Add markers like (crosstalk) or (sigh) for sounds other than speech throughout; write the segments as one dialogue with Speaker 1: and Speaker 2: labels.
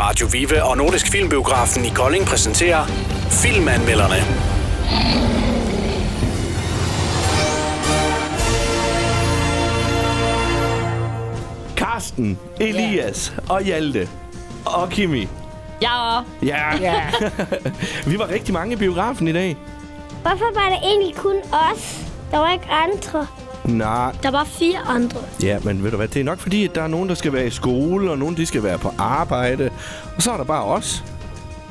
Speaker 1: Radio Vive og Nordisk Filmbiografen i Kolding præsenterer Filmanmelderne.
Speaker 2: Karsten, Elias og Hjalte og Kimi.
Speaker 3: Ja,
Speaker 2: Ja,
Speaker 4: Ja.
Speaker 2: (laughs) vi var rigtig mange i biografen i dag.
Speaker 5: Hvorfor var det egentlig kun os? Der var ikke andre.
Speaker 2: Nej.
Speaker 5: Der var fire andre.
Speaker 2: Ja, men ved du hvad, det er nok fordi, at der er nogen, der skal være i skole, og nogen, de skal være på arbejde. Og så er der bare os.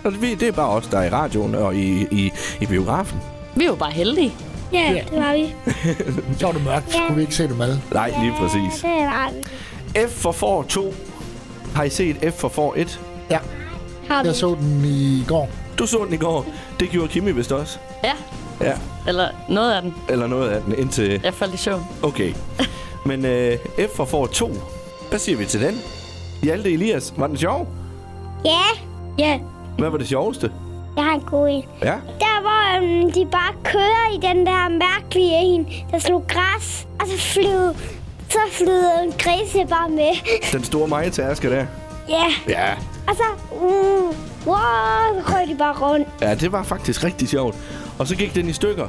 Speaker 2: Og vi- det er bare os, der er i radioen og i, i, i biografen.
Speaker 3: vi er jo bare heldige.
Speaker 5: Ja,
Speaker 4: Ja.
Speaker 5: det var vi.
Speaker 4: Så var det mørkt. Så kunne vi ikke se det med.
Speaker 2: Nej, lige præcis.
Speaker 5: Ja, det var vi.
Speaker 2: F for får 2. Har I set F for får 1?
Speaker 4: Ja,
Speaker 5: Har vi.
Speaker 4: jeg så den i går.
Speaker 2: Du så den i går. Det gjorde Kimi vist også.
Speaker 3: Ja,
Speaker 2: Ja.
Speaker 3: eller noget af den.
Speaker 2: Eller noget af den indtil...
Speaker 3: Jeg faldt i søvn.
Speaker 2: Okay. Men øh, F for får 2. Hvad siger vi til den? Hjalte Elias, var den sjov?
Speaker 5: Ja. Ja,
Speaker 2: Hvad var det sjoveste?
Speaker 5: jeg har en god en.
Speaker 2: Ja.
Speaker 5: Der, hvor øhm, de bare kører i den der mærkelige en, der slog græs, og så flyvede, så flyvede en grise bare med. (laughs)
Speaker 2: Den store majetærske der.
Speaker 5: ja,
Speaker 2: Ja.
Speaker 5: og så, uh, wow, så røg de bare rundt.
Speaker 2: Ja, det var faktisk rigtig sjovt. Og så gik den i stykker.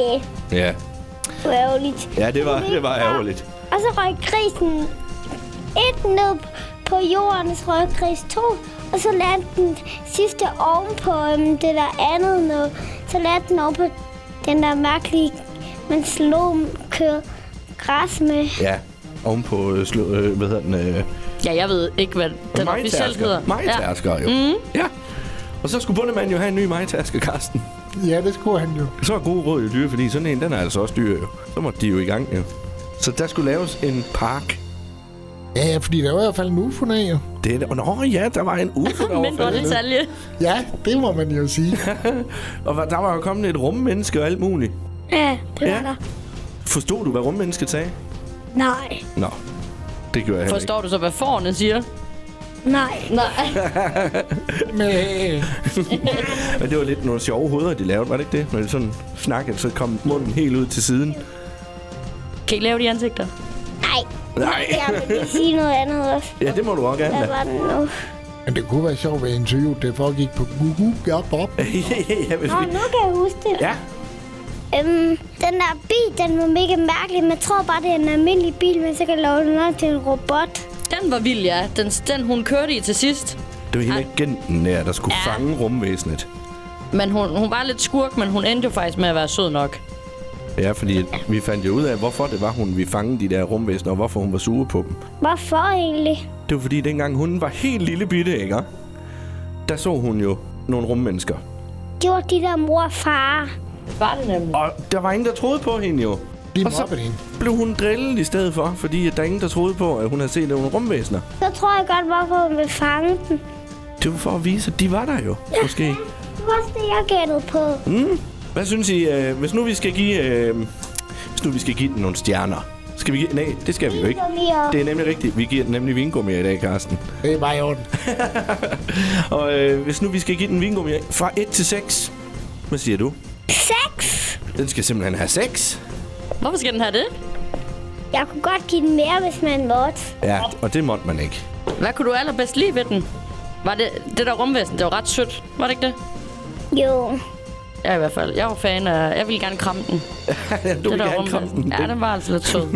Speaker 5: Ja,
Speaker 2: Ja.
Speaker 5: det var ærgerligt.
Speaker 2: Ja, det var, det var ærgerligt.
Speaker 5: Og så røg grisen et ned på jorden, så røg gris to, og så landte den sidste oven på øhm, det der andet noget. Så landte den oven på den der mærkelige, man slog kører græs med.
Speaker 2: Ja. Oven på, øh, slå, øh, hvad hedder den? Øh,
Speaker 3: Ja, jeg ved ikke, hvad den officielt hedder. Ja.
Speaker 2: Majetærsker, jo. Mm. Ja. Og så skulle bundemanden jo have en ny majetærske, Karsten.
Speaker 4: Ja, det skulle han jo.
Speaker 2: Så er gode råd jo dyre, fordi sådan en, den er altså også dyr, jo. Så måtte de jo i gang, jo. Så der skulle laves en park.
Speaker 4: Ja, ja, fordi der var i hvert fald en ufo af, jo.
Speaker 2: Det er, nå ja, der var en ufo, der var
Speaker 3: Mindre
Speaker 2: faldet ned.
Speaker 3: detalje.
Speaker 4: Ja, det må man
Speaker 2: (laughs)
Speaker 4: jo sige.
Speaker 2: Og hva- der var jo kommet et rummenneske og alt muligt.
Speaker 5: Ja, det var
Speaker 2: Ja.
Speaker 5: der.
Speaker 2: Forstod du, hvad rummennesket sagde?
Speaker 5: Nej,
Speaker 2: Nå, det gør jeg heller ikke.
Speaker 3: Forstår du så, hvad forerne siger?
Speaker 5: nej.
Speaker 3: Nej.
Speaker 4: Men øh,
Speaker 2: Men det var lidt nogle sjove hoveder, de lavede, var det ikke det? Når de sådan snakkede, så kom munden helt ud til siden.
Speaker 3: Kan I lave de ansigter?
Speaker 5: Nej,
Speaker 2: Nej.
Speaker 5: jeg vil lige sige noget andet også.
Speaker 2: Ja, det må du også
Speaker 5: Hvad
Speaker 2: gerne.
Speaker 5: var det nu?
Speaker 4: men det kunne være sjovt ved interview. Det foregik på Google. Job op.
Speaker 2: ja, hvis
Speaker 5: Nå,
Speaker 2: vi...
Speaker 5: nu kan jeg huske det.
Speaker 2: Ja,
Speaker 5: Øhm, den der bil, den var mega mærkelig. Man tror bare, det er en almindelig bil, men så kan lave den om til en robot.
Speaker 3: Den var vild, ja. Den, den hun kørte i til sidst.
Speaker 2: det var
Speaker 5: Ah.
Speaker 2: hende agenten der, der skulle
Speaker 3: Ja.
Speaker 2: fange rumvæsenet.
Speaker 3: Men hun, hun var lidt skurk, men hun endte jo faktisk med at være sød nok.
Speaker 2: Ja, fordi vi fandt jo ud af, hvorfor det var hun, vi fangede de der rumvæsener, og hvorfor hun var sure på dem.
Speaker 5: Hvorfor egentlig?
Speaker 2: Det var fordi, dengang hun var helt lille bitte, ikke? Der så hun jo nogle rummennesker.
Speaker 5: Det var de der mor og far.
Speaker 3: Var det nemlig?
Speaker 2: Og der var ingen, der troede på hende jo.
Speaker 4: De
Speaker 2: Og så-
Speaker 4: mobbede hende.
Speaker 2: Blev hun drillet i stedet for, fordi at der er ingen, der troede på, at hun havde set nogle rumvæsener.
Speaker 5: Så tror jeg godt, hvorfor hun vil fange den.
Speaker 2: Det var for at vise, at de var der jo, måske.
Speaker 5: Det var også det, jeg gættede på.
Speaker 2: Mm. Hvad synes I, øh, hvis nu vi skal give... Øh, hvis nu vi skal give den nogle stjerner. Skal vi give... Nej, det skal vi jo ikke.
Speaker 5: Vingummier.
Speaker 2: Det er nemlig rigtigt. Vi giver den nemlig vingummi i dag, Karsten.
Speaker 4: Det er bare i orden.
Speaker 2: Og øh, hvis nu vi skal give den vingummi fra 1 til 6. Hvad siger du?
Speaker 5: Seks!
Speaker 2: Den skal simpelthen have 6.
Speaker 3: Hvorfor skal den have det?
Speaker 5: Jeg kunne godt give den mere, hvis man måtte.
Speaker 2: Ja, og det måtte man ikke.
Speaker 3: Hvad kunne du allerbedst lide ved den? Var det, det der rumvæsen, det var ret sødt. Var det ikke det?
Speaker 5: Jo.
Speaker 3: Ja, i hvert fald. Jeg var fan af... Jeg ville gerne kramme den.
Speaker 2: du
Speaker 3: det
Speaker 2: vil
Speaker 3: der
Speaker 2: gerne kramme
Speaker 3: rumvæsen.
Speaker 2: den.
Speaker 3: Ja, den var altså lidt
Speaker 2: (laughs)
Speaker 3: sød.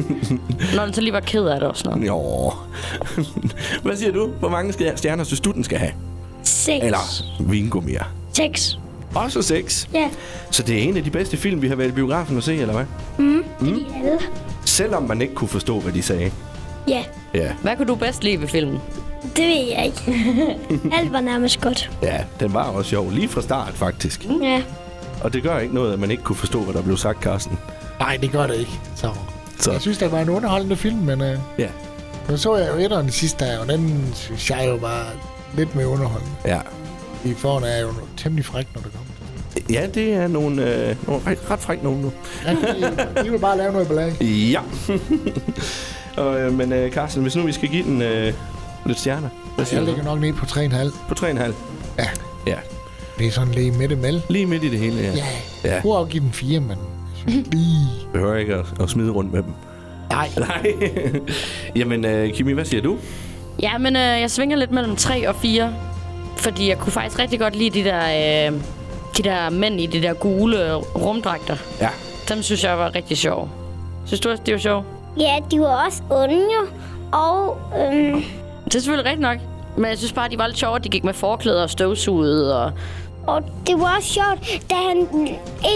Speaker 3: Når den så lige var ked af det og sådan noget.
Speaker 2: Jo. (laughs) Hvad siger du? Hvor mange skal- stjerner synes du, den skal have?
Speaker 5: Seks.
Speaker 2: Eller vingummier.
Speaker 5: Seks.
Speaker 2: Også 6.
Speaker 5: Ja.
Speaker 2: Så det er en af de bedste film, vi har været i biografen at se, eller hvad? Mm.
Speaker 5: Ja.
Speaker 2: Selvom man ikke kunne forstå, hvad de sagde.
Speaker 5: ja.
Speaker 2: Ja,
Speaker 3: Hvad kunne du bedst lide ved filmen?
Speaker 5: Det ved jeg
Speaker 2: (laughs)
Speaker 5: ikke. Alt var nærmest godt.
Speaker 2: ja den var også sjov. Lige fra start, faktisk.
Speaker 5: Ja.
Speaker 2: Og det gør ikke noget, at man ikke kunne forstå, hvad der blev sagt, Carsten.
Speaker 4: Nej, det gør det ikke. Så.
Speaker 2: Så.
Speaker 4: Jeg synes, det var en underholdende film, men øh,
Speaker 2: Ja.
Speaker 4: nu så jeg jo etteren sidste dag, og den synes jeg jo var lidt mere underholdende.
Speaker 2: Ja.
Speaker 4: I foran er jo temmelig fræk, når det kommer. til det.
Speaker 2: Ja, det er nogle, øh, nogle ret, ret fræk nogen nu.
Speaker 4: Ja, de, de vil bare lave noget ballade.
Speaker 2: Ja. (laughs) og, øh, men øh, Carsten, hvis nu vi skal give den øh, lidt stjerner. Hvad
Speaker 4: Jeg
Speaker 2: siger du?
Speaker 4: ligger nok nede på 3,5.
Speaker 2: På 3,5.
Speaker 4: Ja,
Speaker 2: Ja.
Speaker 4: det er sådan lige midt imellem.
Speaker 2: Lige midt i det hele, ja.
Speaker 4: Ja,
Speaker 2: Ja.
Speaker 4: jeg kunne også give den 4, men jeg synes lige...
Speaker 2: Behøver ikke at, at smide rundt med dem.
Speaker 4: Nej,
Speaker 2: (laughs) Nej. Jamen, øh, Kimi, hvad siger du?
Speaker 3: Ja, men øh, jeg svinger lidt mellem 3 og 4. Fordi jeg kunne faktisk rigtig godt lide de der, øh, de der mænd i de der gule rumdragter.
Speaker 2: Ja.
Speaker 3: Dem synes jeg var rigtig sjove. Synes du også, det var sjovt?
Speaker 5: Ja, de var også onde jo. Og øhm,
Speaker 3: Det er selvfølgelig rigtigt nok. Men jeg synes bare, de var lidt sjove, at de gik med forklæder og støvsuget. Og...
Speaker 5: Og det var også sjovt, da han,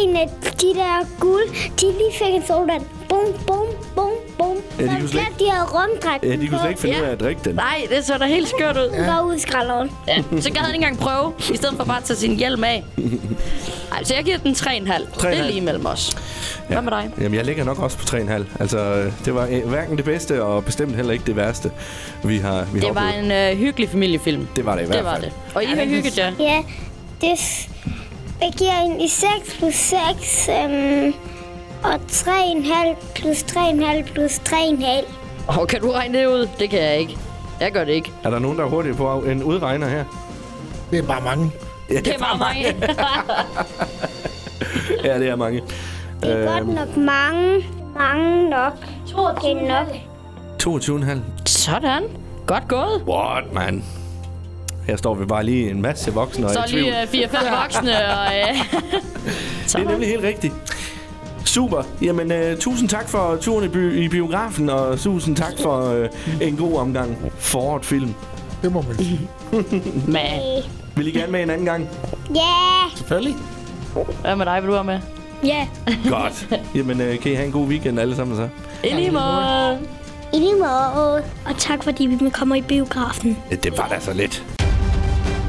Speaker 5: en af de der gule, de lige fik en soldat. Bum, bum, bum, bum.
Speaker 2: Ja, de
Speaker 5: Så
Speaker 2: kunne slet
Speaker 5: glemte de havde rumdragten
Speaker 2: ja de kunne
Speaker 5: på.
Speaker 2: slet ikke finde
Speaker 3: Ja.
Speaker 2: ud af at drikke den.
Speaker 3: Nej, det så da helt skørt ud.
Speaker 5: Den var ude i skralderen.
Speaker 3: Ja. Så gad han ikke engang prøve, i stedet for bare at tage sin hjelm af. Ej, så jeg giver den 3,5. Det er
Speaker 2: 3,5.
Speaker 3: lige mellem os. Hvad med dig?
Speaker 2: Jamen, jeg ligger nok også på 3,5. Altså, øh, det var øh, hverken det bedste, og bestemt heller ikke det værste, vi har, vi har
Speaker 3: Det var
Speaker 2: oplevet.
Speaker 3: en øh, hyggelig familiefilm.
Speaker 2: Det var det i hvert
Speaker 3: Det var
Speaker 2: fald.
Speaker 3: det. Og I har hygget jer.
Speaker 5: Ja, det s- jeg giver en 6 plus 6, øhm, og 3,5 plus 3,5 plus 3,5.
Speaker 3: Og kan du regne det ud? Det kan jeg ikke. Jeg gør det ikke.
Speaker 2: Er der nogen, der er hurtigt på en udregner her?
Speaker 4: Det er bare mange.
Speaker 2: Ja,
Speaker 3: Det var mig.
Speaker 2: ja, det er mange.
Speaker 5: Det er godt nok mange, mange nok. Det er nok.
Speaker 2: 22,5.
Speaker 3: (laughs) Sådan. Godt gået.
Speaker 2: What, man? Her står vi bare lige en masse voksne og
Speaker 3: Så
Speaker 2: er i tvivl.
Speaker 3: lige øh, 4-5 voksne og... Øh,
Speaker 2: Det er nemlig helt rigtigt. Super. Jamen, øh, tusind tak for turen i, by- i biografen, og tusind tak for øh, en god omgang foråret film.
Speaker 4: Det må man sige.
Speaker 3: man.
Speaker 2: Vil I gerne med en anden gang?
Speaker 5: Ja,
Speaker 4: Selvfølgelig.
Speaker 3: Hvad med dig? Vil du være med?
Speaker 5: ja.
Speaker 2: Godt. Jamen, øh, kan I have en god weekend alle sammen så?
Speaker 3: I lige måde.
Speaker 5: I lige måde.
Speaker 6: Og tak fordi vi kommer i biografen.
Speaker 2: Øh, Det var da så lidt.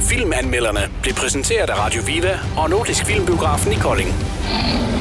Speaker 1: Filmanmelderne blev præsenteret af Radio Viva og Nordisk Filmbiografen i Kolding.